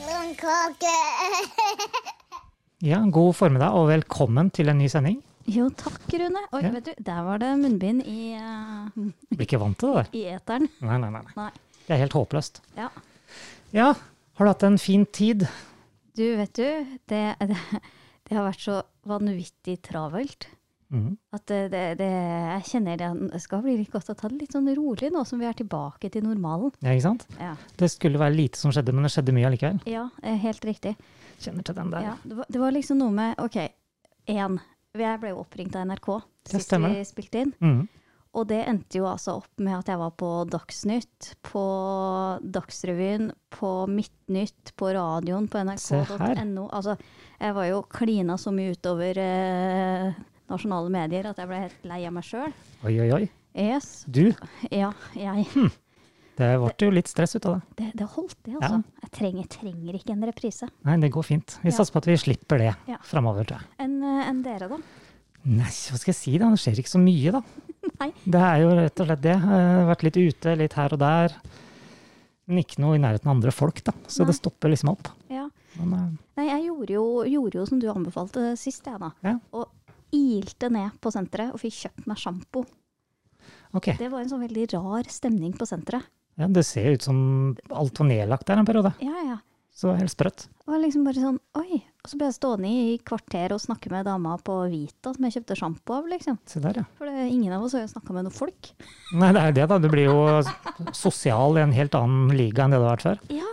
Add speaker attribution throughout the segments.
Speaker 1: pepperkake.
Speaker 2: Ja, god formiddag og velkommen til en ny sending.
Speaker 3: Jo, takk, Rune. Oi,
Speaker 2: Ja.
Speaker 3: vet du, der var det munnbind i, eh,
Speaker 2: Jeg Blir ikke vant til det der.
Speaker 3: i eteren.
Speaker 2: Nei, nei, nei. nei.
Speaker 3: Nei.
Speaker 2: Det er helt håpløst.
Speaker 3: Ja.
Speaker 2: Ja, har du hatt en fin tid?
Speaker 3: Du, vet du, det, det, det har vært så vanvittig travelt.
Speaker 2: Mhm.
Speaker 3: At det, det, det, jeg kjenner det, det skal bli litt godt å ta det litt sånn rolig nå som vi er tilbake til normalen.
Speaker 2: Ja, ikke sant?
Speaker 3: Ja,
Speaker 2: Det skulle være lite som skjedde, men det skjedde mye allikevel.
Speaker 3: ja eh, helt riktig.
Speaker 2: Kjenner til den der.
Speaker 3: Ja, det, var, det var liksom noe med OK, én. Jeg ble jo oppringt av NRK
Speaker 2: Ja,
Speaker 3: sist
Speaker 2: stemmer
Speaker 3: vi spilte inn.
Speaker 2: Mhm.
Speaker 3: Og det endte jo altså opp med at jeg var på Dagsnytt, på Dagsrevyen, på Midtnytt, på radioen, på
Speaker 2: Se her.
Speaker 3: nrk.no. Altså, jeg var jo klina så mye utover eh, nasjonale medier at jeg ble helt lei av meg sjøl.
Speaker 2: Oi, oi, oi.
Speaker 3: Yes.
Speaker 2: Du,
Speaker 3: Ja, jeg
Speaker 2: det ble jo litt stress ut av det.
Speaker 3: Det, det holdt, det, altså. Jeg trenger, trenger ikke en reprise.
Speaker 2: Nei, det går fint. Vi
Speaker 3: Ja.
Speaker 2: satser på at vi slipper det
Speaker 3: Ja.
Speaker 2: framover, tror jeg.
Speaker 3: Enn eh, enn dere, da?
Speaker 2: Nei, hva skal jeg si da? Det skjer ikke så mye, da.
Speaker 3: Nei.
Speaker 2: Det er jo rett og slett det. Jeg har vært litt ute, litt her og der. Men ikke noe i nærheten av andre folk, da. Så
Speaker 3: Nei.
Speaker 2: det stopper liksom opp.
Speaker 3: Ja.
Speaker 2: Men, eh,
Speaker 3: Nei, jeg gjorde jo, gjorde jo som du anbefalte sist, jeg, da.
Speaker 2: Ja.
Speaker 3: Og ilte ned på senteret og fikk kjøpt meg sjampo.
Speaker 2: eh, ok.
Speaker 3: Det var en sånn veldig rar stemning på senteret.
Speaker 2: Ja, det ser jo ut som alt var nedlagt der en periode.
Speaker 3: Ja, ja.
Speaker 2: Så det var helt sprøtt.
Speaker 3: Det var liksom bare sånn, oi. Og så ble jeg stående i kvarter og snakke med dama på Vita som jeg kjøpte sjampo av, liksom.
Speaker 2: Se der, ja.
Speaker 3: For det, ingen av oss har jo snakka med noen folk.
Speaker 2: Nei, det er jo det, da. Du blir jo sosial i en helt annen liga enn det du har vært før.
Speaker 3: Ja,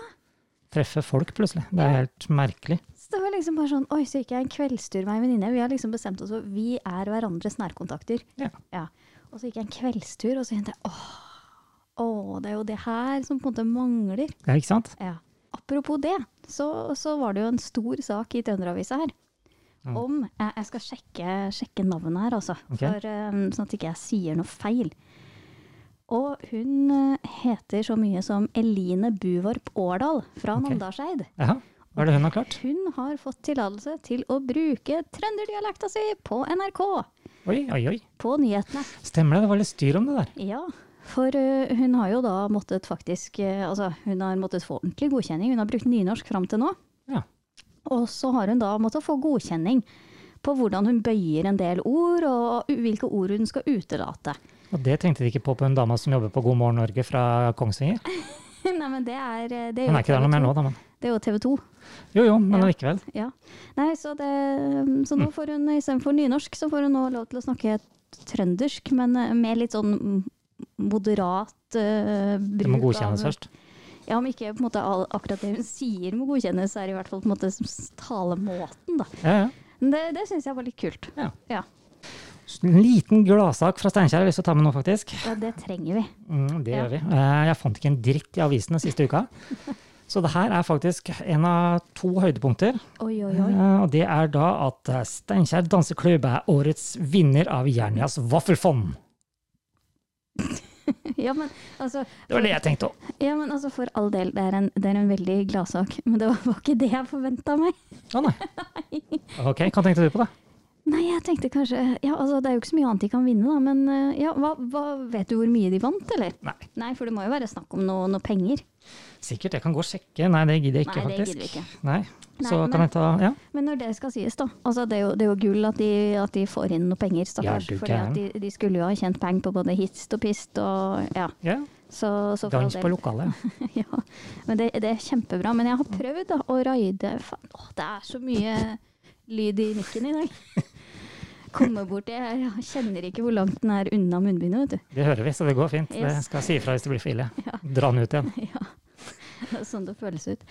Speaker 2: Treffe folk plutselig. Det er helt merkelig.
Speaker 3: Så det var liksom bare sånn, oi, så gikk jeg en kveldstur med ei venninne. Vi har liksom bestemt oss for vi er hverandres nærkontakter.
Speaker 2: Ja.
Speaker 3: Og så gikk jeg en kveldstur, og så kjente jeg åh, åh, det er jo det her som på en måte mangler.
Speaker 2: Ja, ikke sant?
Speaker 3: Ja. Apropos det, så, så var det jo en stor sak i Trønderavisa her.
Speaker 2: Mm.
Speaker 3: Om jeg, jeg skal sjekke, sjekke navnet her, altså.
Speaker 2: Ok.
Speaker 3: For, eh, sånn at ikke jeg sier noe feil. Og hun eh, heter så mye som Eline Buvorp Årdal fra
Speaker 2: Ok.
Speaker 3: Namdalseid.
Speaker 2: Ja. Hva er det hun har klart?
Speaker 3: Hun har fått tillatelse til å bruke trønderdialekta si på NRK!
Speaker 2: Oi, oi, oi.
Speaker 3: På nyhetene.
Speaker 2: Stemmer det, det var litt styr om det der.
Speaker 3: Ja, for eh, hun har jo da måttet faktisk eh, Altså, hun har måttet få ordentlig godkjenning. Hun har brukt nynorsk fram til nå.
Speaker 2: Ja.
Speaker 3: Og så har hun da måttet få godkjenning på hvordan hun bøyer en del ord, og u- hvilke ord hun skal utelate.
Speaker 2: Og det tenkte de ikke på på hun dama som jobber på God morgen Norge fra Kongsvinger.
Speaker 3: Nei, men det er, eh, det er
Speaker 2: Hun
Speaker 3: jo
Speaker 2: er ikke der noe mer nå, da, men.
Speaker 3: Det er jo TV 2.
Speaker 2: Jo, jo, men
Speaker 3: Ja.
Speaker 2: allikevel.
Speaker 3: Ja. Nei, så, det, mm, så
Speaker 2: Mm.
Speaker 3: nå får hun istedenfor nynorsk, så får hun nå lov til å snakke trøndersk, men eh, med litt sånn m- moderat eh, bruk
Speaker 2: Det må godkjennes
Speaker 3: av-
Speaker 2: først.
Speaker 3: Ja, om ikke på en måte all- akkurat det hun sier må godkjennes, så er det i hvert fall på en måte s- talemåten, da.
Speaker 2: Ja, ja.
Speaker 3: Men det, det syns jeg var litt kult.
Speaker 2: Ja.
Speaker 3: Ja.
Speaker 2: En liten gladsak fra Steinkjer. Jeg har lyst til å ta med nå, faktisk.
Speaker 3: ja, det trenger vi.
Speaker 2: Mm, det
Speaker 3: Ja.
Speaker 2: gjør vi. Eh, Jeg fant ikke en dritt i avisene siste uka. Så det her er faktisk en av to høydepunkter.
Speaker 3: Oi, oi,
Speaker 2: Eh,
Speaker 3: oi.
Speaker 2: Og det er da at eh, Steinkjer danseklubb er årets vinner av Jernias vaffelfond.
Speaker 3: Ja, men altså,
Speaker 2: Det var det jeg tenkte òg.
Speaker 3: ja, men altså for all del, det er en, det er en veldig gladsak. Men det var, var ikke det jeg forventa meg.
Speaker 2: Å nei. Ok, hva tenkte du på det?
Speaker 3: Nei, jeg tenkte kanskje Ja, altså det er jo ikke så mye annet de kan vinne, da. Men eh, ja, hva, hva Vet du hvor mye de vant, eller?
Speaker 2: Nei,
Speaker 3: Nei, for det må jo være snakk om noe, noe penger.
Speaker 2: sikkert. Jeg kan gå og sjekke. Nei, det gidder jeg ikke,
Speaker 3: Nei, det
Speaker 2: faktisk.
Speaker 3: gidder vi ikke.
Speaker 2: Nei, så
Speaker 3: Nei,
Speaker 2: kan
Speaker 3: men-
Speaker 2: jeg ta Ja,
Speaker 3: Men når det skal sies, da. Altså det er jo, det er jo gull at de, at de får inn noe penger,
Speaker 2: Ja,
Speaker 3: stakkars.
Speaker 2: du
Speaker 3: fordi at de, de skulle jo ha tjent penger på både hist og pist og ja.
Speaker 2: ja.
Speaker 3: Så, så for all
Speaker 2: Dans på
Speaker 3: del.
Speaker 2: lokalet.
Speaker 3: ja. Men det, det er kjempebra. Men
Speaker 2: Mm.
Speaker 3: jeg har prøvd da, å raide Faen, åh, det er så mye lyd i mikken i dag. Komme borti Jeg jeg kjenner ikke hvor langt den er unna munnbindet, vet du.
Speaker 2: Det hører vi, så det går fint. Det
Speaker 3: Yes.
Speaker 2: skal jeg si ifra hvis det blir for ille. Dra den ut igjen.
Speaker 3: Ja, det er sånn det føles ut.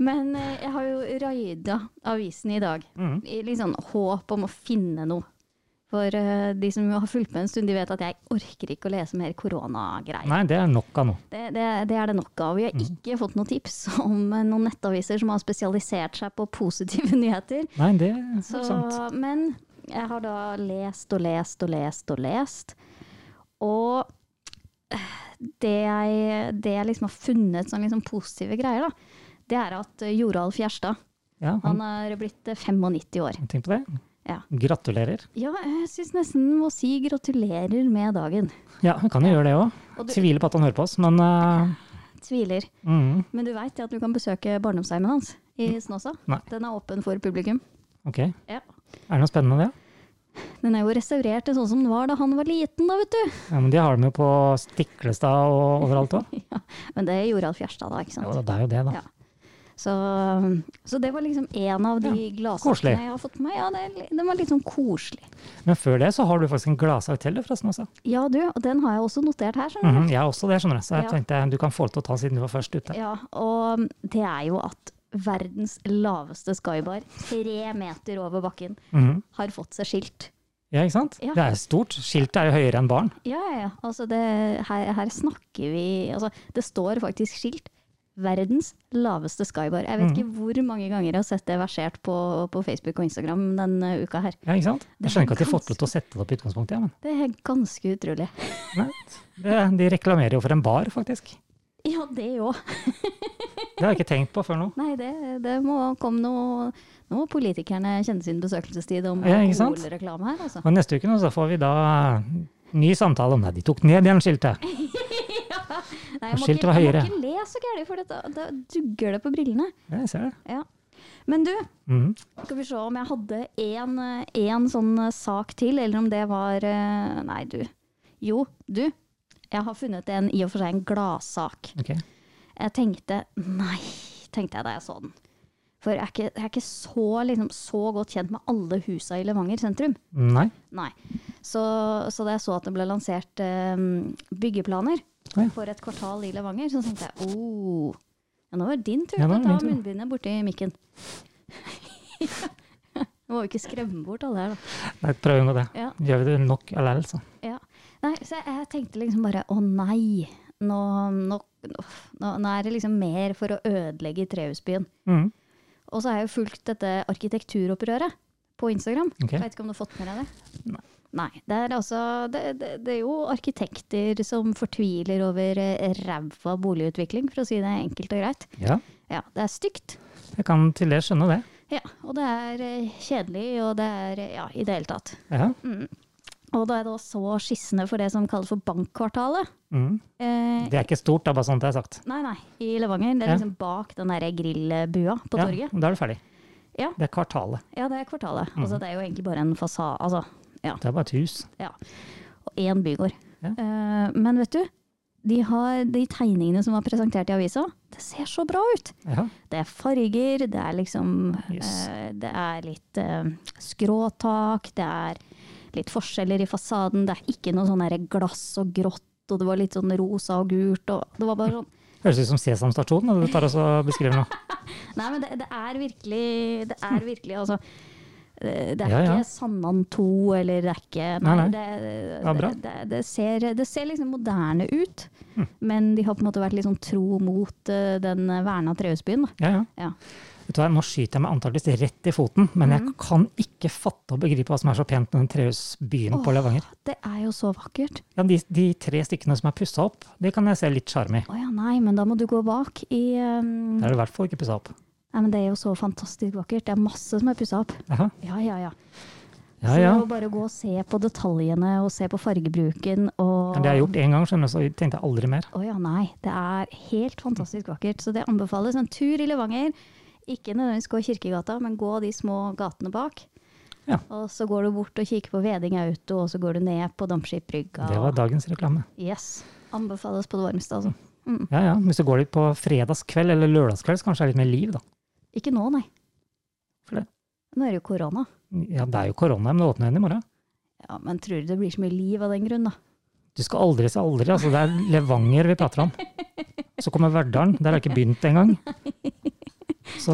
Speaker 3: Men eh, jeg har jo raida avisen i dag,
Speaker 2: Mhm.
Speaker 3: i litt sånn håp om å finne noe. For eh, de som har fulgt med en stund, de vet at jeg orker ikke å lese mer koronagreier.
Speaker 2: Nei, det er nok av noe.
Speaker 3: Det, det, det er det nok av. Vi
Speaker 2: Mm.
Speaker 3: har ikke fått noen tips om eh, noen nettaviser som har spesialisert seg på positive nyheter.
Speaker 2: Nei, det er
Speaker 3: Så,
Speaker 2: sant.
Speaker 3: men jeg har da lest og lest og lest og lest. Og eh, det jeg, det jeg liksom har funnet som liksom positive greier, da, det er at eh, Joralf Gjerstad
Speaker 2: Ja,
Speaker 3: han
Speaker 2: Mm.
Speaker 3: er blitt 95 år.
Speaker 2: Tenk på det.
Speaker 3: Ja.
Speaker 2: Gratulerer.
Speaker 3: Ja, jeg syns nesten må si gratulerer med dagen.
Speaker 2: Ja, hun kan jo gjøre det òg.
Speaker 3: Og du-
Speaker 2: Tviler på at han hører på oss, men eh,
Speaker 3: Tviler.
Speaker 2: mm,
Speaker 3: Men du veit at du kan besøke barndomshjemmet hans i Snåsa.
Speaker 2: Mm. Nei.
Speaker 3: Den er åpen for publikum.
Speaker 2: Ok.
Speaker 3: Ja.
Speaker 2: Er det noe spennende med det?
Speaker 3: Den er jo restaurert til sånn som den var da han var liten, da, vet du.
Speaker 2: Ja, men De har dem jo på Stiklestad og overalt òg.
Speaker 3: Ja. Men det gjorde alt Fjerstad, da. ikke sant?
Speaker 2: Jo, da, det er jo det, da.
Speaker 3: Ja. Så, så det var liksom en av de
Speaker 2: koselig.
Speaker 3: gladsakene jeg har fått med meg. Ja, det, er li- den var litt sånn koselig.
Speaker 2: Men før det så har du faktisk en gladsak til, du, forresten. også.
Speaker 3: Ja, du, og den har jeg også notert her. skjønner du.
Speaker 2: Mhm, jeg har også det, skjønner du. Så jeg
Speaker 3: Ja.
Speaker 2: tenkte du kan få det til å ta siden du var først ute.
Speaker 3: Ja, og det er jo at verdens laveste skybar, tre meter over bakken,
Speaker 2: Mhm.
Speaker 3: har fått seg skilt.
Speaker 2: Ja, ikke sant?
Speaker 3: Ja.
Speaker 2: Det er stort. Skiltet er jo høyere enn barn.
Speaker 3: Ja, ja, ja. Altså, det, her, her snakker vi Altså, det står faktisk skilt. Verdens laveste skybar. Jeg
Speaker 2: Mm.
Speaker 3: vet ikke hvor mange ganger jeg har sett det versert på, på Facebook og Instagram denne uka her.
Speaker 2: Ja, ikke sant? Jeg
Speaker 3: Det
Speaker 2: skjønner
Speaker 3: er
Speaker 2: ikke at de har fått
Speaker 3: ganske-
Speaker 2: lov til å sette det opp i utgangspunktet, ja, men
Speaker 3: Det er ganske utrolig.
Speaker 2: Nei, det, de reklamerer jo for en bar, faktisk.
Speaker 3: Ja, det òg.
Speaker 2: Det har jeg ikke tenkt på før nå.
Speaker 3: Nei, det, det må komme noe Nå må politikerne kjenne sin besøkelsestid om
Speaker 2: Ja, ikke sant?
Speaker 3: alkoholreklame her, altså.
Speaker 2: Men neste uke nå så får vi da ny samtale om Nei, de tok ned igjen skiltet.
Speaker 3: Nei, jeg må
Speaker 2: Skiltet
Speaker 3: ikke,
Speaker 2: var
Speaker 3: jeg må
Speaker 2: høyere.
Speaker 3: ikke le så gærent, for da, da dugger det på brillene.
Speaker 2: Ja, jeg ser det.
Speaker 3: Ja. Men du,
Speaker 2: Mhm.
Speaker 3: skal vi se om jeg hadde én én sånn eh, sak til, eller om det var eh, Nei, du. Jo, du. Jeg har funnet en i og for seg en gladsak.
Speaker 2: Ok.
Speaker 3: Jeg tenkte nei, tenkte jeg da jeg så den. For jeg er ikke, jeg er ikke så, liksom, så godt kjent med alle husa i Levanger sentrum.
Speaker 2: Nei.
Speaker 3: Nei. Så, så da jeg så at det ble lansert eh, byggeplaner
Speaker 2: Å ja.
Speaker 3: for et kvartal i Levanger, så tenkte jeg oh, ja, nå var det din tur
Speaker 2: Ja, nå er
Speaker 3: til å
Speaker 2: det
Speaker 3: ta
Speaker 2: min tur.
Speaker 3: munnbindet borti mikken. Nå må vi ikke skremme bort alle her, da.
Speaker 2: Nei, prøv å unngå det.
Speaker 3: Ja.
Speaker 2: Gjør vi det nok allikevel, så.
Speaker 3: Ja. Nei, så jeg, jeg tenkte liksom bare å nei, nå, nå, nå, nå er det liksom mer for å ødelegge trehusbyen.
Speaker 2: Mhm.
Speaker 3: Og så har jeg jo fulgt dette arkitekturopprøret på Instagram.
Speaker 2: Ok.
Speaker 3: Jeg vet ikke om du har fått med deg det? Nei. det, er altså, det, det, det er jo arkitekter som fortviler over eh, ræva boligutvikling, for å si det enkelt og greit.
Speaker 2: Ja,
Speaker 3: Ja, det er stygt.
Speaker 2: jeg kan til det skjønne det.
Speaker 3: Ja, og det er eh, kjedelig, og det er eh, ja, i det hele tatt.
Speaker 2: Ja.
Speaker 3: Og da jeg da så skissene for det som kalles for bankkvartalet
Speaker 2: Mhm.
Speaker 3: eh,
Speaker 2: Det er ikke stort, det er bare sånn det er sagt.
Speaker 3: Nei, nei, i Levanger. Det er
Speaker 2: Ja.
Speaker 3: liksom bak den der grillbua på
Speaker 2: ja,
Speaker 3: torget.
Speaker 2: Da er du ferdig.
Speaker 3: Ja.
Speaker 2: Det er kvartalet.
Speaker 3: Ja, det er kvartalet.
Speaker 2: Mm.
Speaker 3: Altså, det er jo egentlig bare en fasade. Altså, ja.
Speaker 2: Det er bare et hus.
Speaker 3: Ja. Og én bygård.
Speaker 2: Ja.
Speaker 3: Eh, men vet du, de, har, de tegningene som var presentert i avisa, det ser så bra ut!
Speaker 2: Ja.
Speaker 3: Det er farger, det er liksom
Speaker 2: Yes.
Speaker 3: eh, Det er litt eh, skråtak, det er litt forskjeller i fasaden, det er ikke noe sånn der glass og grått, og det var litt sånn rosa og gult, og det var bare sånn
Speaker 2: Høres ut som Sesam stasjon når du tar og så beskriver noe.
Speaker 3: Nei, men det, det er virkelig Det er virkelig, altså. eh, Det
Speaker 2: Hm.
Speaker 3: er
Speaker 2: Ja, ja.
Speaker 3: ikke Sandland 2, eller det er ikke
Speaker 2: Nei, nei.
Speaker 3: Det,
Speaker 2: Ja, bra. Hm.
Speaker 3: det, det, det, ser, det ser liksom moderne ut, men de har på en måte vært litt sånn tro mot eh, den verna trehusbyen. da.
Speaker 2: Ja, ja.
Speaker 3: Ja.
Speaker 2: Vet du hva, Nå skyter jeg meg antakeligvis rett i foten, men
Speaker 3: Mm.
Speaker 2: jeg kan ikke fatte og begripe hva som er så pent med den trehusbyen på Levanger.
Speaker 3: Det er jo så vakkert.
Speaker 2: Ja, de, de tre stykkene som er pussa opp, de kan jeg se litt sjarm i.
Speaker 3: Å ja, nei, men da må du gå bak i eh,
Speaker 2: Det er det i hvert fall ikke pussa opp.
Speaker 3: Nei, men det er jo så fantastisk vakkert. Det er masse som er pussa opp.
Speaker 2: Jaha.
Speaker 3: Ja, ja, ja.
Speaker 2: Ja,
Speaker 3: Så det
Speaker 2: ja.
Speaker 3: er jo bare å gå og se på detaljene, og se på fargebruken, og
Speaker 2: Men Det har jeg gjort én gang, skjønner du, så tenkte jeg aldri mer.
Speaker 3: Å ja, nei. Det er helt fantastisk vakkert. Så det anbefales en tur i Levanger. Ikke nødvendigvis gå i Kirkegata, men gå de små gatene bak.
Speaker 2: Ja.
Speaker 3: Og så går du bort og kikker på Veding Auto, og så går du ned på Dampskipbrygga.
Speaker 2: Det var dagens reklame.
Speaker 3: Yes. Anbefales på det varmeste, altså.
Speaker 2: Ja, ja. Hvis du går litt på fredagskveld eller lørdagskveld, så kanskje det er litt mer liv, da.
Speaker 3: Ikke nå, nei.
Speaker 2: For det.
Speaker 3: Nå er det jo korona.
Speaker 2: Ja, det er jo korona, men det åpner igjen i morgen.
Speaker 3: Ja, Men tror du det blir så mye liv av den grunn, da?
Speaker 2: Du skal aldri si aldri. altså Det er Levanger vi prater om. Så kommer Verdalen. Der har jeg ikke begynt engang. Så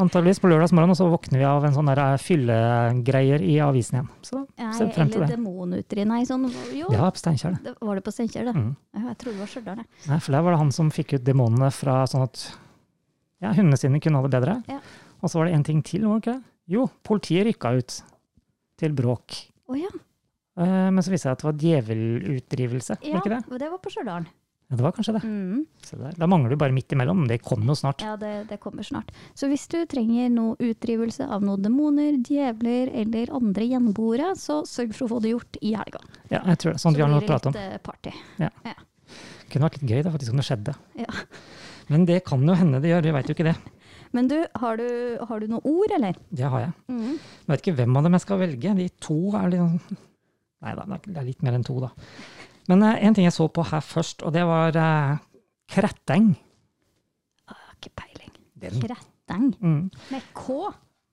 Speaker 2: antageligvis på lørdagsmorgen, og så våkner vi av en sånn der fyllegreier i avisen igjen. Så se
Speaker 3: Nei,
Speaker 2: frem til
Speaker 3: eller
Speaker 2: det.
Speaker 3: demonutri. Nei, sånn Jo,
Speaker 2: Ja, på Steinkjer. det.
Speaker 3: det var det på Steinkjer, det.
Speaker 2: Mm.
Speaker 3: Ja, Jeg trodde det var Stjørdal, jeg.
Speaker 2: Nei, for der var det han som fikk ut demonene fra sånn at ja, hundene sine kunne ha det bedre.
Speaker 3: Ja.
Speaker 2: Og så var det en ting til, var det ikke det? Jo, politiet rykka ut til bråk.
Speaker 3: Å ja.
Speaker 2: Eh, Men så viste det seg at det var djevelutdrivelse. var
Speaker 3: ja.
Speaker 2: Ikke det?
Speaker 3: Det var på Stjørdal.
Speaker 2: Ja, det var kanskje det.
Speaker 3: Mm.
Speaker 2: Se der. Da mangler du bare midt imellom. men Det kommer jo snart.
Speaker 3: Ja, det, det kommer snart. Så hvis du trenger noe utdrivelse av noen demoner, djevler eller andre gjenboere, så sørg for å få det gjort i helga.
Speaker 2: Ja, jeg tror det. Sånn at vi har noe å prate om.
Speaker 3: Så blir det litt eh, party.
Speaker 2: Det kunne vært litt gøy da, faktisk om det skjedde.
Speaker 3: Ja.
Speaker 2: Men det kan jo hende det gjør, vi veit jo ikke det.
Speaker 3: Men du, har du, har du noen ord, eller?
Speaker 2: Det har jeg.
Speaker 3: Mm.
Speaker 2: Jeg vet ikke hvem av dem jeg skal velge. De to er litt Nei da, det er litt mer enn to, da. Men eh, en ting jeg så på her først, og det var eh, Kretteng.
Speaker 3: Jeg har ikke peiling.
Speaker 2: Den.
Speaker 3: Kretteng.
Speaker 2: Mm.
Speaker 3: Med K.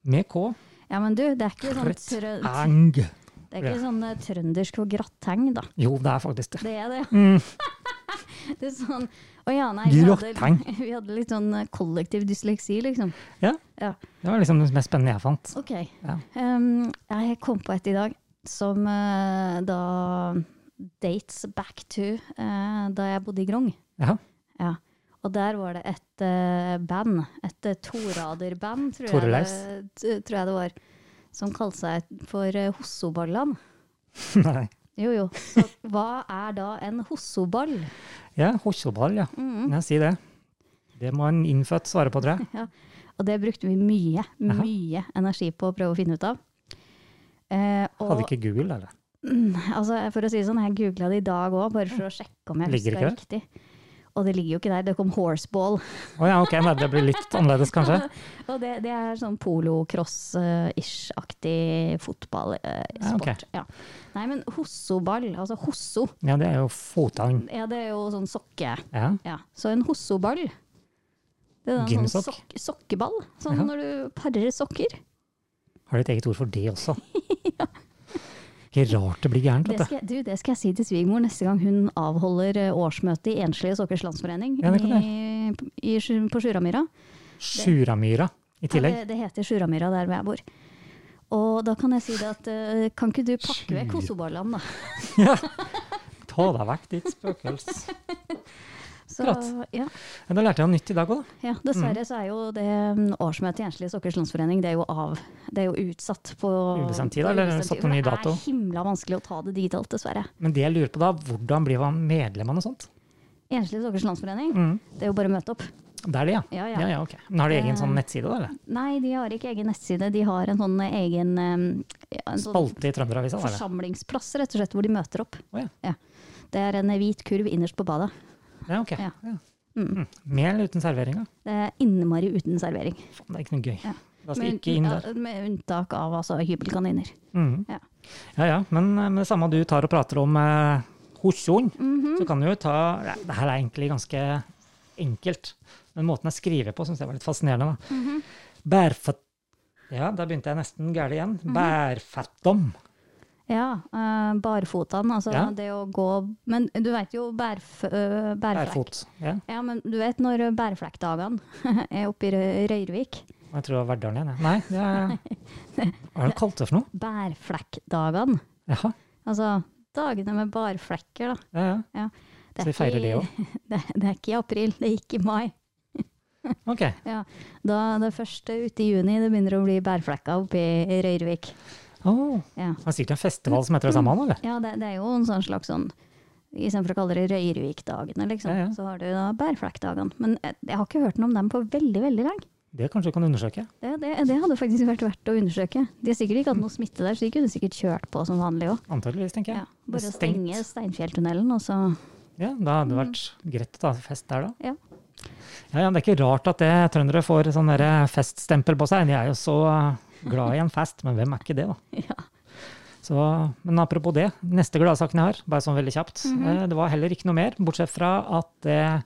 Speaker 2: Med K.
Speaker 3: Ja, men du, det er ikke sånn, trø
Speaker 2: Kretteng.
Speaker 3: det er ikke sånn eh, trøndersk for gratteng, da.
Speaker 2: Jo, det er faktisk det.
Speaker 3: Det er det.
Speaker 2: Mm.
Speaker 3: det er sånn, å ja, nei, vi hadde,
Speaker 2: Gratteng.
Speaker 3: vi hadde litt sånn eh, kollektiv dysleksi, liksom.
Speaker 2: Ja.
Speaker 3: Ja.
Speaker 2: Det var liksom det mest spennende jeg fant.
Speaker 3: Ok.
Speaker 2: Ja.
Speaker 3: Um, jeg kom på et i dag som eh, da dates back to eh, da jeg bodde i Grong.
Speaker 2: Ja.
Speaker 3: Ja. Og der var det et eh, band, et uh, toraderband, tror, jeg det- t- tror jeg det var, som kalte seg for uh, Hossoballan.
Speaker 2: Nei.
Speaker 3: Jo, jo. Så hva er da en hossoball?
Speaker 2: Ja, Hosjoball, ja. ja. Si det. Det må en innfødt svare på, tror jeg.
Speaker 3: Og det brukte vi mye, mye energi på å prøve å finne ut av. Eh, og-
Speaker 2: Hadde ikke Google, eller?
Speaker 3: Altså, for å si det sånn, jeg googla det i dag òg, bare for å sjekke om jeg
Speaker 2: Ligger
Speaker 3: husker det riktig. Og det ligger jo ikke der, det kom horseball.
Speaker 2: Å ja, ok, nei, det blir litt annerledes, kanskje.
Speaker 3: Og det, det er sånn polocross-ish-aktig
Speaker 2: Ja, Ah, ok.
Speaker 3: fotballsport. Ja, Nei, men hossoball, altså hosso,
Speaker 2: Ja, det er jo fotang.
Speaker 3: ja, det er jo sånn sokke...
Speaker 2: Ja.
Speaker 3: Ja, så en hossoball. Det er en sånn
Speaker 2: Gymsokk?
Speaker 3: sok sokkeball, sånn
Speaker 2: Ja.
Speaker 3: når du parer sokker.
Speaker 2: Har du et eget ord for det også? Ikke rart det blir gærent,
Speaker 3: Det
Speaker 2: vet du.
Speaker 3: skal, jeg- du, det skal jeg si til svigermor neste gang hun avholder eh, årsmøte i Enslige sokkers landsforening
Speaker 2: Ja, det kan
Speaker 3: i, i, Sju- på Sjuramyra.
Speaker 2: Suramyra i tillegg.
Speaker 3: Ja, det, det heter Sjuramyra der hvor jeg bor. Og da kan jeg si det at eh, kan ikke du pakke
Speaker 2: Sjur-
Speaker 3: vekk Kosobarland, da?
Speaker 2: Ta deg vekk, ditt spøkels.
Speaker 3: Så,
Speaker 2: Akkurat.
Speaker 3: ja,
Speaker 2: Ja, Da lærte jeg noe nytt i dag òg, da.
Speaker 3: ja, dessverre så er jo det mm, årsmøtet i Enslige sokkers landsforening det er jo av. Det er jo utsatt på
Speaker 2: Ubestemt tid,
Speaker 3: på
Speaker 2: eller
Speaker 3: ubestemt
Speaker 2: satt
Speaker 3: tid, for
Speaker 2: en ny dato?
Speaker 3: Det er himla vanskelig å ta det digitalt, dessverre.
Speaker 2: Men det jeg lurer på da, hvordan blir man medlem av noe sånt?
Speaker 3: Enslige sokkers landsforening,
Speaker 2: Mm.
Speaker 3: det er jo bare å møte opp.
Speaker 2: Det er det, ja.
Speaker 3: Ja, Eh, ja.
Speaker 2: ja, ok. Men har de egen sånn nettside, da? eller?
Speaker 3: Nei, de har ikke egen nettside. De har en sånn egen em, ja, en sånn
Speaker 2: Spalte i Trønderavisa, da, eller?
Speaker 3: forsamlingsplass, rett og slett, hvor de møter opp.
Speaker 2: Å, ja.
Speaker 3: Det er en hvit kurv innerst på badet.
Speaker 2: Ja, ok.
Speaker 3: Ja.
Speaker 2: Ja.
Speaker 3: Mm.
Speaker 2: Mm. Med eller uten servering, da?
Speaker 3: Det er innmari uten servering.
Speaker 2: Faen, det er ikke noe gøy.
Speaker 3: Ja.
Speaker 2: Da skal jeg Altså ikke inn der.
Speaker 3: ja, med unntak av altså, hybelkaniner.
Speaker 2: Mhm.
Speaker 3: Ja.
Speaker 2: Ja ja, men eh, med det samme du tar og prater om eh, hosjoen,
Speaker 3: Mhm.
Speaker 2: så kan du jo ta ja, Det her er egentlig ganske enkelt, men måten jeg skriver på syns jeg var litt fascinerende. da.
Speaker 3: Mhm.
Speaker 2: Bærfatt... Ja, der begynte jeg nesten gærent igjen.
Speaker 3: Mhm.
Speaker 2: Bærfattom.
Speaker 3: Ja, uh, barfotene, altså
Speaker 2: Ja.
Speaker 3: det å gå Men du vet jo bærf, øh, bærflekk.
Speaker 2: Bærfot. Ja,
Speaker 3: Ja, men du vet når bærflekkdagene er oppe i Rø- Røyrvik?
Speaker 2: og jeg tror det var Verdalen igjen. jeg. Nei, det er Hva har de kalt det for noe?
Speaker 3: Bærflekkdagene.
Speaker 2: Jaha.
Speaker 3: Altså dagene med barflekker, da.
Speaker 2: Ja, ja.
Speaker 3: Det
Speaker 2: Så vi
Speaker 3: er
Speaker 2: feirer det
Speaker 3: ikke- Det, det er ikke i april, det gikk i mai.
Speaker 2: Ok.
Speaker 3: Da det første ute i juni det begynner å bli bærflekker oppe i Røyrvik.
Speaker 2: Oh,
Speaker 3: Ja.
Speaker 2: det er sikkert en festival som heter det samme, eller?
Speaker 3: Ja, det, det er jo en sånn slags sånn Istedenfor å kalle det Røyrvik-dagene, liksom,
Speaker 2: Ja, ja.
Speaker 3: så har du da Bærflekkdagene. Men jeg, jeg har ikke hørt noe om dem på veldig, veldig lenge.
Speaker 2: Det kanskje du kan undersøke?
Speaker 3: Det, det, det hadde faktisk vært verdt å undersøke. De har sikkert ikke hatt noe smitte der, så de kunne sikkert kjørt på som vanlig òg.
Speaker 2: Antakeligvis, tenker jeg.
Speaker 3: Ja, bare å
Speaker 2: Stengt.
Speaker 3: stenge Steinfjelltunnelen, og så
Speaker 2: Ja, da hadde det vært greit å ta fest der, da.
Speaker 3: Mm. Ja.
Speaker 2: Ja, ja, Det er ikke rart at det, trøndere får sånn derre feststempel på seg. De er jo så glad i en fest, men hvem er ikke det, da?
Speaker 3: Ja.
Speaker 2: Så, men apropos det, neste gladsaken jeg har, bare sånn veldig kjapt.
Speaker 3: Mhm.
Speaker 2: eh, Det var heller ikke noe mer, bortsett fra at det,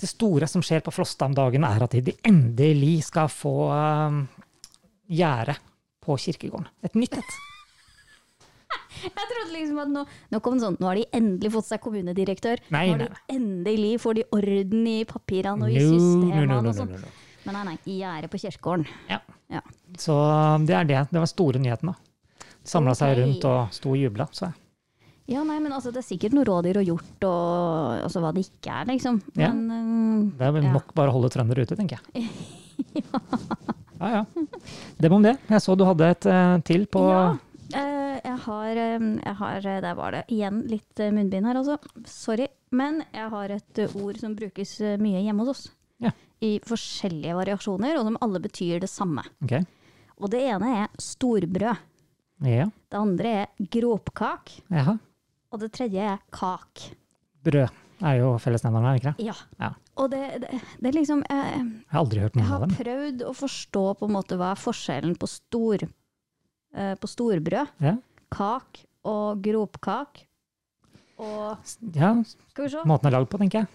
Speaker 2: det store som skjer på Frosta om dagen, er at de endelig skal få um, gjerde på kirkegården. Et nytt et.
Speaker 3: Jeg trodde liksom at nå, nå kom det sånn, nå har de endelig fått seg kommunedirektør.
Speaker 2: Nei,
Speaker 3: nå
Speaker 2: nei,
Speaker 3: har de endelig får de orden i papirene og i
Speaker 2: No, no,
Speaker 3: systemene
Speaker 2: no, no,
Speaker 3: og sånn.
Speaker 2: no, no.
Speaker 3: Men nei, nei, gjerdet på kirkegården.
Speaker 2: Ja.
Speaker 3: Ja.
Speaker 2: Så eh, det er det. Det var store nyheten, da. Samla seg
Speaker 3: Ok.
Speaker 2: rundt og sto og jubla, så jeg.
Speaker 3: Ja, nei, men altså, det er sikkert noe rådyr og hjort og altså, hva det ikke er, liksom.
Speaker 2: Ja.
Speaker 3: Men øh,
Speaker 2: Det er vel
Speaker 3: Ja.
Speaker 2: nok bare å holde trøndere ute, tenker jeg. Ja, ja. Det var om det. Jeg så du hadde et eh, til på
Speaker 3: ja. eh, jeg har, eh, jeg har eh, Der var det igjen litt eh, munnbind her, altså. Sorry. Men jeg har et eh, ord som brukes eh, mye hjemme hos oss.
Speaker 2: Ja.
Speaker 3: I forskjellige variasjoner, og som alle betyr det samme.
Speaker 2: Ok.
Speaker 3: Og det ene er storbrød.
Speaker 2: Ja.
Speaker 3: Det andre er gropkak.
Speaker 2: Jaha.
Speaker 3: Og det tredje er kak.
Speaker 2: Brød. er jo fellesnevneren her, ikke det?
Speaker 3: Ja.
Speaker 2: Ja.
Speaker 3: Og det, det, det er liksom jeg,
Speaker 2: Jeg har aldri hørt
Speaker 3: jeg
Speaker 2: noen av
Speaker 3: har
Speaker 2: dem.
Speaker 3: prøvd å forstå på en måte hva er forskjellen på, stor, eh, på storbrød,
Speaker 2: Ja.
Speaker 3: kak og gropkak. Og
Speaker 2: ja,
Speaker 3: skal vi se
Speaker 2: måten det er lagd på, tenker jeg.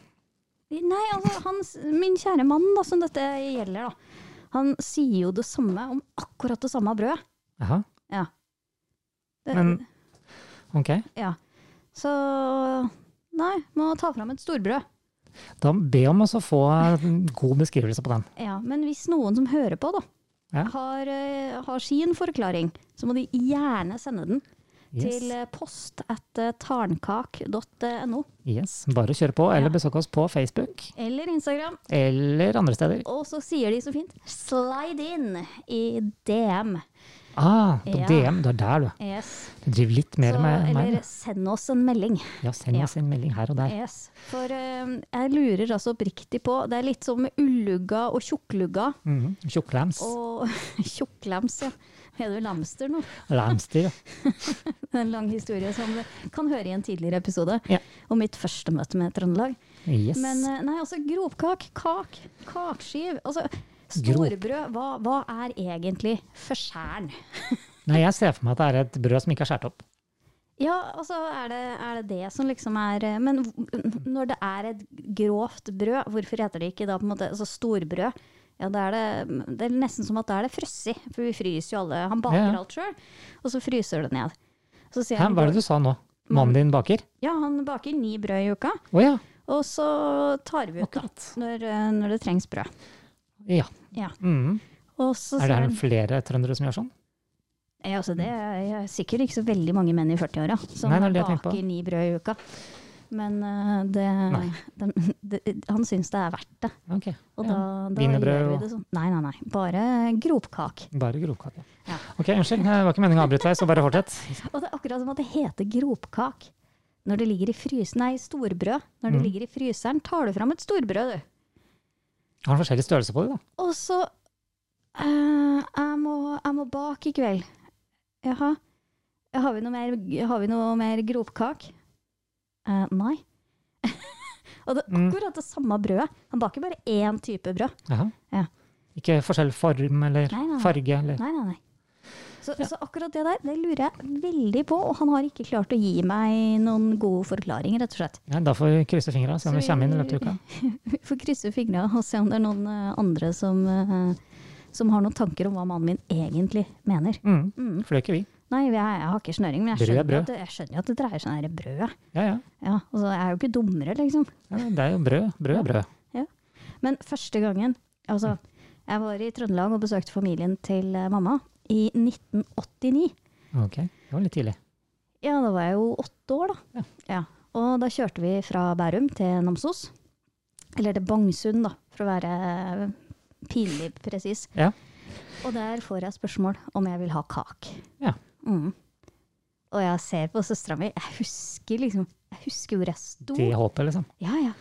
Speaker 3: Nei, altså, hans, min kjære mann da, som dette gjelder, da, han sier jo det samme om akkurat det samme brødet.
Speaker 2: Jaha,
Speaker 3: Det-
Speaker 2: Men- ok.
Speaker 3: ja. Så Nei, må ta fram et storbrød.
Speaker 2: Da be om oss å få en god beskrivelse på den.
Speaker 3: Ja, men hvis noen som hører på, da,
Speaker 2: Ja.
Speaker 3: har, eh, har sin forklaring, så må de gjerne sende den
Speaker 2: Yes.
Speaker 3: til eh, post at eh, tarnkak.no.
Speaker 2: yes. Bare kjør på, eller besøk oss på Facebook
Speaker 3: Eller Instagram.
Speaker 2: eller andre steder.
Speaker 3: Og så sier de så fint 'slide in' i DM.
Speaker 2: Ah, på
Speaker 3: Ja.
Speaker 2: DM. Du er der, du.
Speaker 3: Yes.
Speaker 2: Du driver litt mer
Speaker 3: så,
Speaker 2: med meg.
Speaker 3: eller send oss en melding.
Speaker 2: du. Ja, send
Speaker 3: ja.
Speaker 2: oss en melding her og der.
Speaker 3: Yes. For eh, jeg lurer altså oppriktig på Det er litt som med ullugga og tjukklugga
Speaker 2: Mhm. Tjukklams.
Speaker 3: og tjukklems, ja. Er du lamster nå?
Speaker 2: Lamsdyr.
Speaker 3: En lang historie som du kan høre i en tidligere episode.
Speaker 2: Ja.
Speaker 3: Om mitt første møte med Trøndelag.
Speaker 2: Yes.
Speaker 3: Men eh, nei, altså gropkak, kak, kakskiv. Altså
Speaker 2: Grop.
Speaker 3: storbrød. Hva, hva er egentlig forskjæren?
Speaker 2: Nei, jeg ser for meg at det er et brød som ikke er skåret opp.
Speaker 3: Ja, altså er det, er det det som liksom er eh, Men hv- når det er et grovt brød, hvorfor heter det ikke da på en måte altså storbrød? Ja, da er det, det er nesten som at da er det frosset, for vi fryser jo alle. Han baker
Speaker 2: Ja, ja.
Speaker 3: alt sjøl, og så fryser det ned. Så sier
Speaker 2: Hæ,
Speaker 3: han,
Speaker 2: hva er det du sa nå? Mannen din baker?
Speaker 3: ja, han baker ni brød i uka,
Speaker 2: Å ja,
Speaker 3: og så tar vi ut da,
Speaker 2: akkurat.
Speaker 3: når, eh, når det trengs brød.
Speaker 2: Ja.
Speaker 3: Ja.
Speaker 2: Mhm.
Speaker 3: Og så
Speaker 2: Er det
Speaker 3: sier
Speaker 2: her
Speaker 3: han,
Speaker 2: flere trøndere som gjør sånn?
Speaker 3: ja, altså det er er sikkert ikke så veldig mange menn i 40-åra som
Speaker 2: Nei, det er det jeg tenker på.
Speaker 3: baker ni brød i uka. Men eh, det, dem- det- han syns det er verdt det.
Speaker 2: Ok.
Speaker 3: Og
Speaker 2: Ja.
Speaker 3: da, da
Speaker 2: Wienerbrød
Speaker 3: gjør vi
Speaker 2: og-
Speaker 3: det sånn. Nei, nei, nei. Bare gropkak.
Speaker 2: Bare grovkake.
Speaker 3: Ja.
Speaker 2: Ok, unnskyld. Det var ikke meningen å avbryte deg, så bare fortsett.
Speaker 3: Og det er akkurat som at det heter gropkak. Når det ligger i frys... Nei, storbrød. Når det
Speaker 2: Mm.
Speaker 3: ligger i fryseren, tar du fram et storbrød, du.
Speaker 2: Har den forskjellig størrelse på det, da?
Speaker 3: Og så eh, jeg, må, jeg må bake i kveld. Jaha. Har vi noe mer, har vi noe mer gropkak? Eh, nei. Og det er
Speaker 2: Mm.
Speaker 3: akkurat det samme brødet. Han baker bare én type brød.
Speaker 2: Jaha.
Speaker 3: Ja.
Speaker 2: Ikke forskjell form eller
Speaker 3: Nei, nei, nei.
Speaker 2: farge eller
Speaker 3: Nei, nei, nei. Så, så akkurat det der, det lurer jeg veldig på, og han har ikke klart å gi meg noen god forklaring, rett og slett.
Speaker 2: Nei, Da får vi krysse fingra og se om
Speaker 3: Så
Speaker 2: det kommer inn i
Speaker 3: vi-
Speaker 2: løpet av uka.
Speaker 3: Vi får krysse fingra og se om det er noen eh, andre som, eh, som har noen tanker om hva mannen min egentlig mener.
Speaker 2: Mm.
Speaker 3: Mm.
Speaker 2: Fløy ikke vi.
Speaker 3: Nei, jeg, jeg har ikke snøring, men jeg
Speaker 2: Brød er
Speaker 3: skjønner,
Speaker 2: brød.
Speaker 3: at det, jeg skjønner jo at det dreier seg om det brødet.
Speaker 2: Ja, ja.
Speaker 3: Ja, altså, jeg er jo ikke dummere, liksom.
Speaker 2: ja. Det er jo brød. Brød er brød.
Speaker 3: Men første gangen, altså, jeg var i Trøndelag og besøkte familien til eh, mamma i 1989.
Speaker 2: Ok. Det var litt tidlig.
Speaker 3: Ja, da var jeg jo åtte år, da. Ja. Og da kjørte vi fra Bærum til Namsos. Eller til Bangsund, da, for å være pinlig presis.
Speaker 2: Ja.
Speaker 3: Og der får jeg spørsmål om jeg vil ha kak.
Speaker 2: Ja.
Speaker 3: Mm. Og jeg ser på søstera mi, jeg husker liksom Jeg husker hvor jeg sto.
Speaker 2: Det håpet, liksom.
Speaker 3: Ja, ja.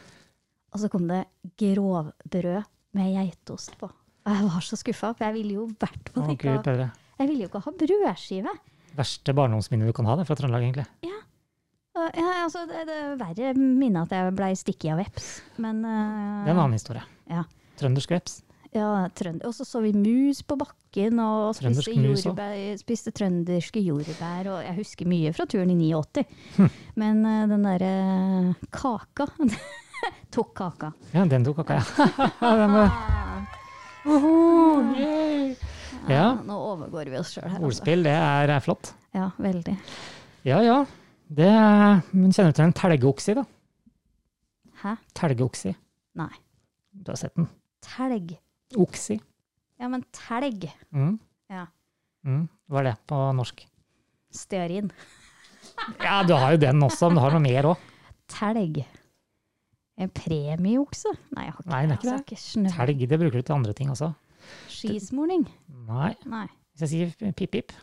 Speaker 3: Og så kom det grovbrød med geitost på. Og jeg var så skuffa, for jeg ville jo i hvert
Speaker 2: Å,
Speaker 3: fall ikke
Speaker 2: gud
Speaker 3: ha,
Speaker 2: bedre.
Speaker 3: jeg ville jo ikke ha brødskive.
Speaker 2: Verste barndomsminnet du kan ha det, fra Trøndelag, egentlig.
Speaker 3: Ja, Ja, altså, det, det er verre minnet at jeg blei stukket av veps. Men eh,
Speaker 2: Det er en annen historie.
Speaker 3: Ja.
Speaker 2: Trøndersk veps.
Speaker 3: ja, trønd- Og så så vi mus på bakken, og spiste,
Speaker 2: Trøndersk mus også.
Speaker 3: jordbær, spiste trønderske jordbær. Og jeg husker mye fra turen i 89.
Speaker 2: Hm.
Speaker 3: Men eh, den derre kaka Tok kaka.
Speaker 2: Ja,
Speaker 3: Ah.
Speaker 2: den tok kaka, ja. den var... Uhu, yay! Ja,
Speaker 3: Nå overgår vi oss sjøl her. Altså.
Speaker 2: ordspill, det er, er flott.
Speaker 3: Ja, veldig.
Speaker 2: Ja, ja. Det er, men kjenner du til en telgeoksi, da?
Speaker 3: Hæ?
Speaker 2: Telgeoksi.
Speaker 3: Nei.
Speaker 2: Du har sett den.
Speaker 3: Telg.
Speaker 2: Oksi.
Speaker 3: Ja, men telg.
Speaker 2: Mm.
Speaker 3: Ja.
Speaker 2: Mm. Hva er det på norsk?
Speaker 3: Stearin.
Speaker 2: Ja, du har jo den også, men du har noe mer òg.
Speaker 3: Telg. En premieokse? Nei, jeg har ikke,
Speaker 2: Nei, det er ikke
Speaker 3: altså, jeg har ikke snø.
Speaker 2: Telg, det bruker du til andre ting også.
Speaker 3: Skismurning?
Speaker 2: Nei.
Speaker 3: Nei.
Speaker 2: Hvis jeg sier pip-pip,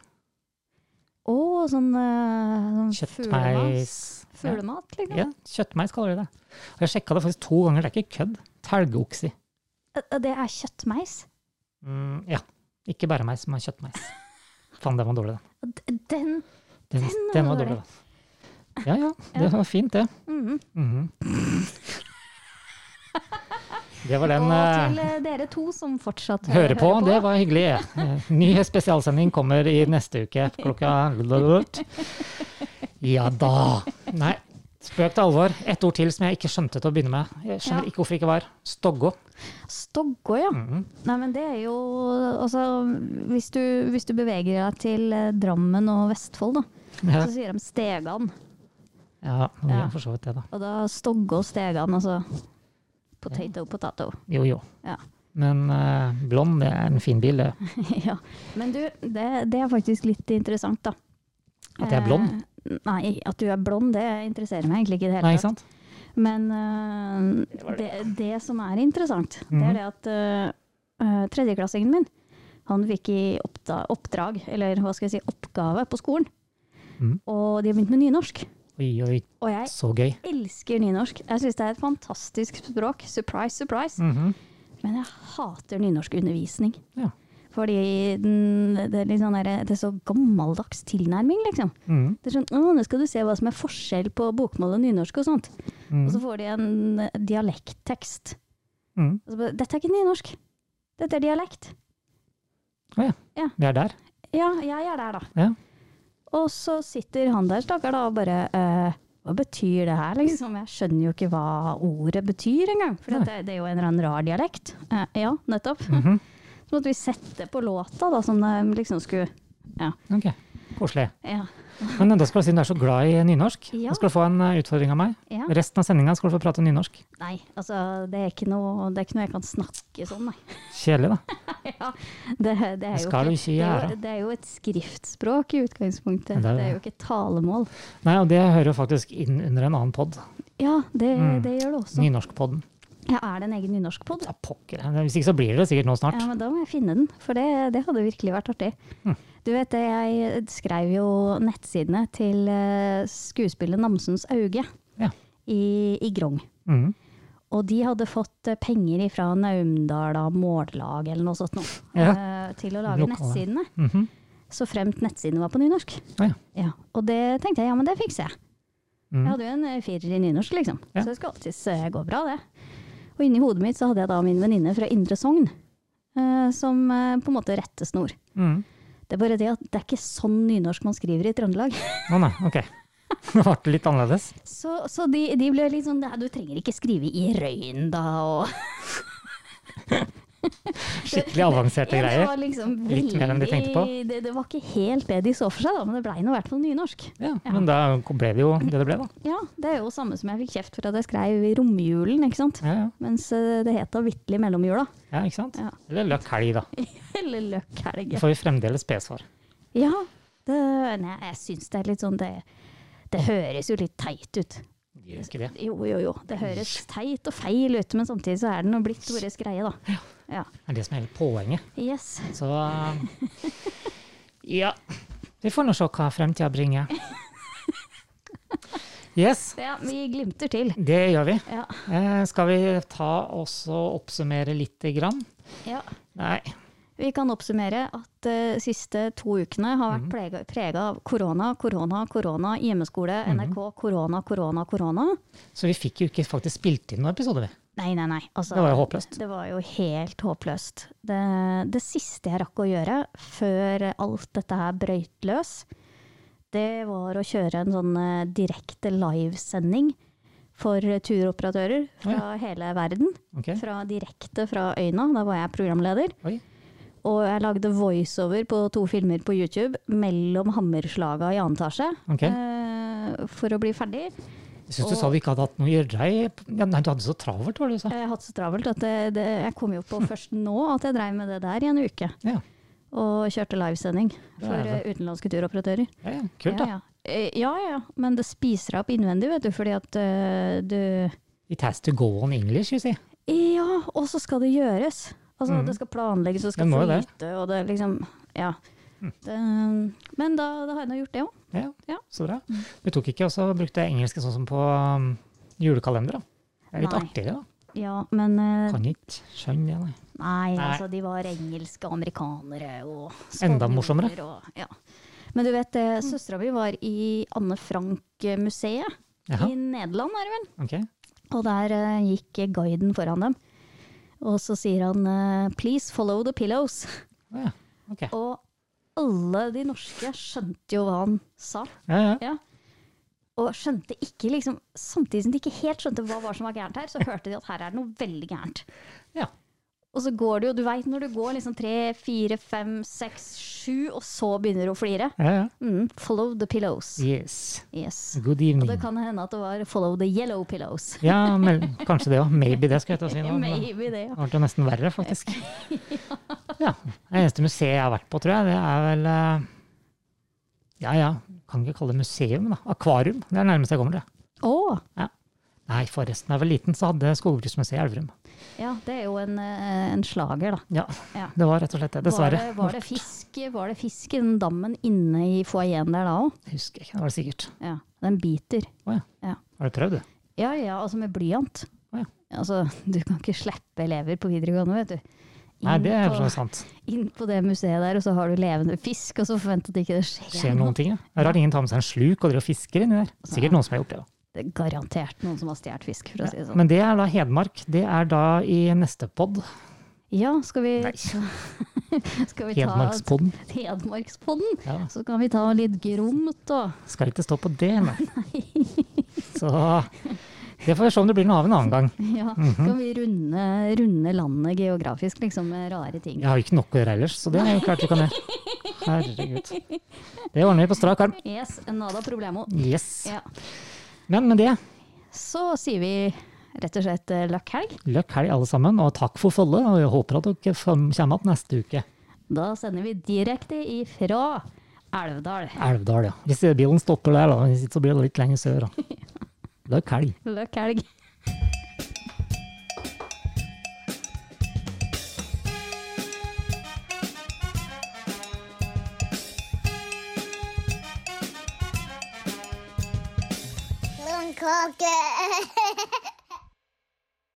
Speaker 3: Å, sånn, uh, sånn
Speaker 2: kjøttmeis
Speaker 3: fuglemat- Fuglemat, liksom?
Speaker 2: Ja, kjøttmeis kaller de det. Og jeg sjekka det faktisk to ganger, det er ikke kødd. Telgeoksi.
Speaker 3: Eh, Det er kjøttmeis?
Speaker 2: Mm, ja. Ikke bæremeis, men kjøttmeis. Faen, den var dårlig, den.
Speaker 3: D- Den
Speaker 2: Den, den var dårlig, den. Ja, ja. Det var fint, det.
Speaker 3: Mhm.
Speaker 2: Mhm. Det var den
Speaker 3: Og
Speaker 2: eh,
Speaker 3: til eh, dere to som fortsatt eh,
Speaker 2: Høre på, det var hyggelig. Eh, Ny spesialsending kommer i neste uke klokka Ja da. Nei, spøk til alvor. Et ord til som jeg ikke skjønte til å begynne med. Jeg skjønner
Speaker 3: Ja.
Speaker 2: ikke hvorfor jeg ikke var. Stoggo.
Speaker 3: Stoggå, ja.
Speaker 2: Mhm.
Speaker 3: Nei, men det er jo Altså, hvis du, hvis du beveger deg til eh, Drammen og Vestfold, da,
Speaker 2: Ja,
Speaker 3: så sier de Stegan.
Speaker 2: ja, vi
Speaker 3: Ja.
Speaker 2: har for så vidt det, da.
Speaker 3: Og da Stoggå og Stegan, altså. Potato, potato.
Speaker 2: Jo, jo.
Speaker 3: Ja.
Speaker 2: Men eh, blond, det er en fin bil, det.
Speaker 3: ja. Men du, det, det er faktisk litt interessant, da.
Speaker 2: At jeg er blond?
Speaker 3: Eh, nei, at du er blond, det interesserer meg egentlig ikke i det hele
Speaker 2: Nei,
Speaker 3: tatt.
Speaker 2: ikke sant?
Speaker 3: Men øh, det, det som er interessant, det
Speaker 2: Mhm.
Speaker 3: er det at øh, øh, tredjeklassingen min, han fikk i oppda, oppdrag, eller hva skal jeg si, oppgave på skolen.
Speaker 2: Mhm.
Speaker 3: Og de har begynt med nynorsk.
Speaker 2: Oi, oi,
Speaker 3: Og jeg
Speaker 2: så gøy.
Speaker 3: elsker nynorsk. Jeg syns det er et fantastisk språk. Surprise, surprise.
Speaker 2: Mhm.
Speaker 3: Men jeg hater nynorskundervisning.
Speaker 2: Ja.
Speaker 3: Fordi den, det, er litt sånn der, det er så gammeldags tilnærming, liksom.
Speaker 2: Mhm.
Speaker 3: Det er sånn, å, nå skal du se hva som er forskjell på bokmål og nynorsk og sånt.
Speaker 2: Mhm.
Speaker 3: Og så får de en eh, dialekttekst.
Speaker 2: Mhm.
Speaker 3: Og så bare, Dette er ikke nynorsk. Dette er dialekt.
Speaker 2: Vi er der.
Speaker 3: Ja, jeg er der, da.
Speaker 2: Ja.
Speaker 3: Og så sitter han der, stakkar, da, og bare eh, Hva betyr det her, liksom? Jeg skjønner jo ikke hva ordet betyr engang. For at det, det er jo en eller annen rar dialekt. Eh, ja, nettopp.
Speaker 2: Mhm.
Speaker 3: Så måtte vi sette på låta, da, som de liksom skulle
Speaker 2: Ok, koselig.
Speaker 3: Ja.
Speaker 2: Men eh, da skal du si du er så glad i nynorsk.
Speaker 3: Ja.
Speaker 2: Da skal du få en eh, utfordring av meg.
Speaker 3: ja.
Speaker 2: Resten av sendinga skal du få prate nynorsk.
Speaker 3: Nei, altså, det er, ikke noe, det er ikke noe jeg kan snakke sånn, nei.
Speaker 2: Kjedelig, da.
Speaker 3: Ja, det, det, er jo
Speaker 2: skal du
Speaker 3: ikke,
Speaker 2: ikke
Speaker 3: det, er jo,
Speaker 2: gjøre.
Speaker 3: det er jo et skriftspråk i utgangspunktet.
Speaker 2: Det er
Speaker 3: Det
Speaker 2: jo
Speaker 3: er,
Speaker 2: det.
Speaker 3: jo ikke talemål.
Speaker 2: Nei, og det hører jo faktisk inn under en annen pod.
Speaker 3: Ja, det,
Speaker 2: Mm.
Speaker 3: det gjør det også.
Speaker 2: Nynorskpodden.
Speaker 3: Ja, er det en egen nynorskpod?
Speaker 2: Ja, pokker. Hvis ikke så blir det sikkert noe
Speaker 3: Ja,
Speaker 2: snart.
Speaker 3: men da må jeg finne den, for det, det hadde virkelig vært artig.
Speaker 2: Hm.
Speaker 3: Du vet det, jeg skrev jo nettsidene til eh, skuespillet Namsens Auge
Speaker 2: Ja.
Speaker 3: i, i Grong.
Speaker 2: Mhm.
Speaker 3: Og de hadde fått eh, penger fra Naumdala Mållag eller noe sånt noe, eh, til å lage
Speaker 2: Lokale.
Speaker 3: nettsidene.
Speaker 2: Mhm.
Speaker 3: så fremt nettsiden var på nynorsk.
Speaker 2: Ja.
Speaker 3: og det tenkte jeg, ja, men det fikser jeg.
Speaker 2: Mhm.
Speaker 3: Jeg hadde jo en eh, firer i nynorsk, liksom.
Speaker 2: Ja.
Speaker 3: Så det skal alltids eh, gå bra, det. Og inni hodet mitt så hadde jeg da min venninne fra Indre Sogn eh, som eh, på en måte rettesnor.
Speaker 2: Mhm.
Speaker 3: Det er bare det at det er ikke sånn nynorsk man skriver i Trøndelag.
Speaker 2: Å nei, ok. Det ble litt annerledes.
Speaker 3: Så, så de, de ble litt sånn "Nei, Du trenger ikke skrive i røyen, da, og
Speaker 2: Skikkelig avanserte
Speaker 3: Ja, Det
Speaker 2: greier.
Speaker 3: var liksom
Speaker 2: Litt mer enn de tenkte på.
Speaker 3: veldig- Det, det var ikke helt det de så for seg, da, men det blei nå i hvert fall nynorsk.
Speaker 2: Ja, men da ble det jo det det ble, da.
Speaker 3: Ja, det er jo samme som jeg fikk kjeft for at jeg skrev i romjulen, ikke sant?
Speaker 2: Ja, ja.
Speaker 3: Mens eh, det het da vitterlig mellomjula.
Speaker 2: ja ikke sant?
Speaker 3: Ja.
Speaker 2: Eller løkk helg, da.
Speaker 3: Eller
Speaker 2: Det
Speaker 3: løkkhelg.
Speaker 2: får vi fremdeles pes for.
Speaker 3: Ja, det, nei, jeg syns det er litt sånn det, det høres jo litt teit ut.
Speaker 2: Gjør ikke det.
Speaker 3: Jo, jo, jo. Det høres teit og feil ut, men samtidig så er det nå blitt vår greie, da. Ja.
Speaker 2: Det er det som er hele poenget.
Speaker 3: Yes.
Speaker 2: Så Ja. Vi får nå se hva fremtida bringer. Yes,
Speaker 3: Ja, vi glimter til.
Speaker 2: det gjør vi.
Speaker 3: Ja.
Speaker 2: Eh, skal vi ta og så oppsummere lite grann?
Speaker 3: ja.
Speaker 2: Nei.
Speaker 3: Vi kan oppsummere at de siste to ukene har vært prega av korona, korona, korona, hjemmeskole, NRK, korona, korona, korona.
Speaker 2: Så vi fikk jo ikke faktisk spilt inn noen episode, vi.
Speaker 3: Nei, nei, nei. Altså,
Speaker 2: Det var jo håpløst.
Speaker 3: Det var jo helt håpløst. Det, det siste jeg rakk å gjøre før alt dette her brøyt løs, det var å kjøre en sånn eh, direkte livesending for turoperatører fra hele verden.
Speaker 2: Ok.
Speaker 3: Fra, direkte fra øyna, da var jeg programleder.
Speaker 2: Oi.
Speaker 3: Og jeg lagde voiceover på to filmer på YouTube mellom hammerslaga i annen etasje.
Speaker 2: Ok.
Speaker 3: eh, For å bli ferdig.
Speaker 2: Jeg syns du sa du ikke hadde hatt noe å gjøre i ja, Nei, du hadde så travelt, var det du sa.
Speaker 3: Jeg har hatt så travelt at det, det, jeg kom jo på først nå at jeg dreiv med det der i en uke.
Speaker 2: Ja,
Speaker 3: Og kjørte livesending
Speaker 2: Det er
Speaker 3: for eh, utenlandske turoperatører.
Speaker 2: ja, ja. Kult, da.
Speaker 3: Ja, ja. Eh, ja ja, men det spiser deg opp innvendig, vet du, fordi at eh, du
Speaker 2: It has to go on English, you see.
Speaker 3: Ja, og så skal det gjøres. Altså,
Speaker 2: Mhm.
Speaker 3: det skal planlegges, og det
Speaker 2: Det
Speaker 3: skal
Speaker 2: må jo det. Mm.
Speaker 3: flyte, og det liksom Ja. Det, men da, da har jeg nå gjort det òg.
Speaker 2: Ja,
Speaker 3: Ja. Mm.
Speaker 2: Så bra. Du tok ikke og så brukte jeg engelske sånn som på um, julekalender, da. Det er litt
Speaker 3: Nei.
Speaker 2: artigere, da.
Speaker 3: Ja, men eh,
Speaker 2: Kan ikke skjønne det, nei.
Speaker 3: Nei,
Speaker 2: Nei.
Speaker 3: altså de var engelske amerikanere og
Speaker 2: Enda morsommere.
Speaker 3: spanjoler Og, ja. Men du vet, eh, søstera mi var i Anne Frank-museet
Speaker 2: Jaha,
Speaker 3: i Nederland, er det vel?
Speaker 2: ok.
Speaker 3: Og der eh, gikk guiden foran dem. Og så sier han eh, 'please follow the pillows'.
Speaker 2: Å Ja, ok.
Speaker 3: Og alle de norske skjønte jo hva han sa.
Speaker 2: Ja, ja.
Speaker 3: Og skjønte ikke liksom, Samtidig som de ikke helt skjønte hva var som var gærent her, så hørte de at her er det noe veldig gærent.
Speaker 2: Ja.
Speaker 3: Og så går det jo, du veit når du går liksom tre, fire, fem, seks, sju, og så begynner du å flire.
Speaker 2: ja, ja.
Speaker 3: Mm, follow the pillows.
Speaker 2: Yes.
Speaker 3: Yes.
Speaker 2: Good
Speaker 3: Og det
Speaker 2: evening.
Speaker 3: kan hende at det var follow the yellow pillows.
Speaker 2: Ja, men, kanskje det òg. Maybe det, skal jeg til å si nå. men Det
Speaker 3: Maybe det, ja.
Speaker 2: ble jo nesten verre, faktisk. Ja. Det eneste museet jeg har vært på, tror jeg, det er vel eh, Ja, ja, kan ikke kalle det museum, da. Akvarium. Det er nærmest jeg kommer til.
Speaker 3: Å!
Speaker 2: Nei, forresten, da jeg var liten, så hadde Skogbruksmuseet i Elverum.
Speaker 3: Ja, det er jo en, eh, en slager, da.
Speaker 2: Ja,
Speaker 3: Ja.
Speaker 2: det var rett og slett det. Dessverre.
Speaker 3: Var det, var det, fisk, var det fisk i den dammen inne i foajeen der da òg?
Speaker 2: Jeg husker ikke, det var det sikkert.
Speaker 3: Ja. Den biter.
Speaker 2: Å ja.
Speaker 3: Ja.
Speaker 2: Har du prøvd det?
Speaker 3: Ja ja, altså med blyant.
Speaker 2: Å ja.
Speaker 3: Altså, du kan ikke slippe elever på videregående, vet du. Inn,
Speaker 2: Nei, det er for så
Speaker 3: på,
Speaker 2: vidt sant.
Speaker 3: inn på det museet der, og så har du levende fisk, og så forventer at ikke det skjer,
Speaker 2: Skjer
Speaker 3: noe.
Speaker 2: noen ting, ja. Det er Rart ingen tar med seg en sluk og driver og fisker inni der. Sikkert noen som har gjort det. da.
Speaker 3: Det er garantert noen som har stjålet fisk, for å si det sånn.
Speaker 2: Men det er da Hedmark. Det er da i neste pod.
Speaker 3: Ja, skal vi,
Speaker 2: Nei.
Speaker 3: skal vi ta
Speaker 2: Hedmarkspodden.
Speaker 3: Hedmarkspodden?
Speaker 2: Ja.
Speaker 3: Så kan vi ta litt gromt og
Speaker 2: Skal ikke stå på det, nei. Så det får vi se om det blir noe av en annen gang.
Speaker 3: Ja,
Speaker 2: Mhm.
Speaker 3: kan vi runde, runde landet geografisk, liksom, med rare ting.
Speaker 2: Jeg har jo ikke nok å gjøre ellers, så det er jo klart vi kan gjøre. Herregud. Det ordner vi på strak arm.
Speaker 3: Yes, nada problemo.
Speaker 2: Yes.
Speaker 3: Ja.
Speaker 2: Men med det,
Speaker 3: Så sier vi rett og slett eh, løkk helg.
Speaker 2: løkk helg alle sammen, og takk for følget. Og jeg håper at dere kommer igjen neste uke.
Speaker 3: Da sender vi direkte ifra Elvdal.
Speaker 2: Elvdal, ja. Hvis bilen stopper der, da, hvis ikke så blir det litt lenger sør. da. Løkk helg.
Speaker 3: Løkk helg.
Speaker 1: Blomkake!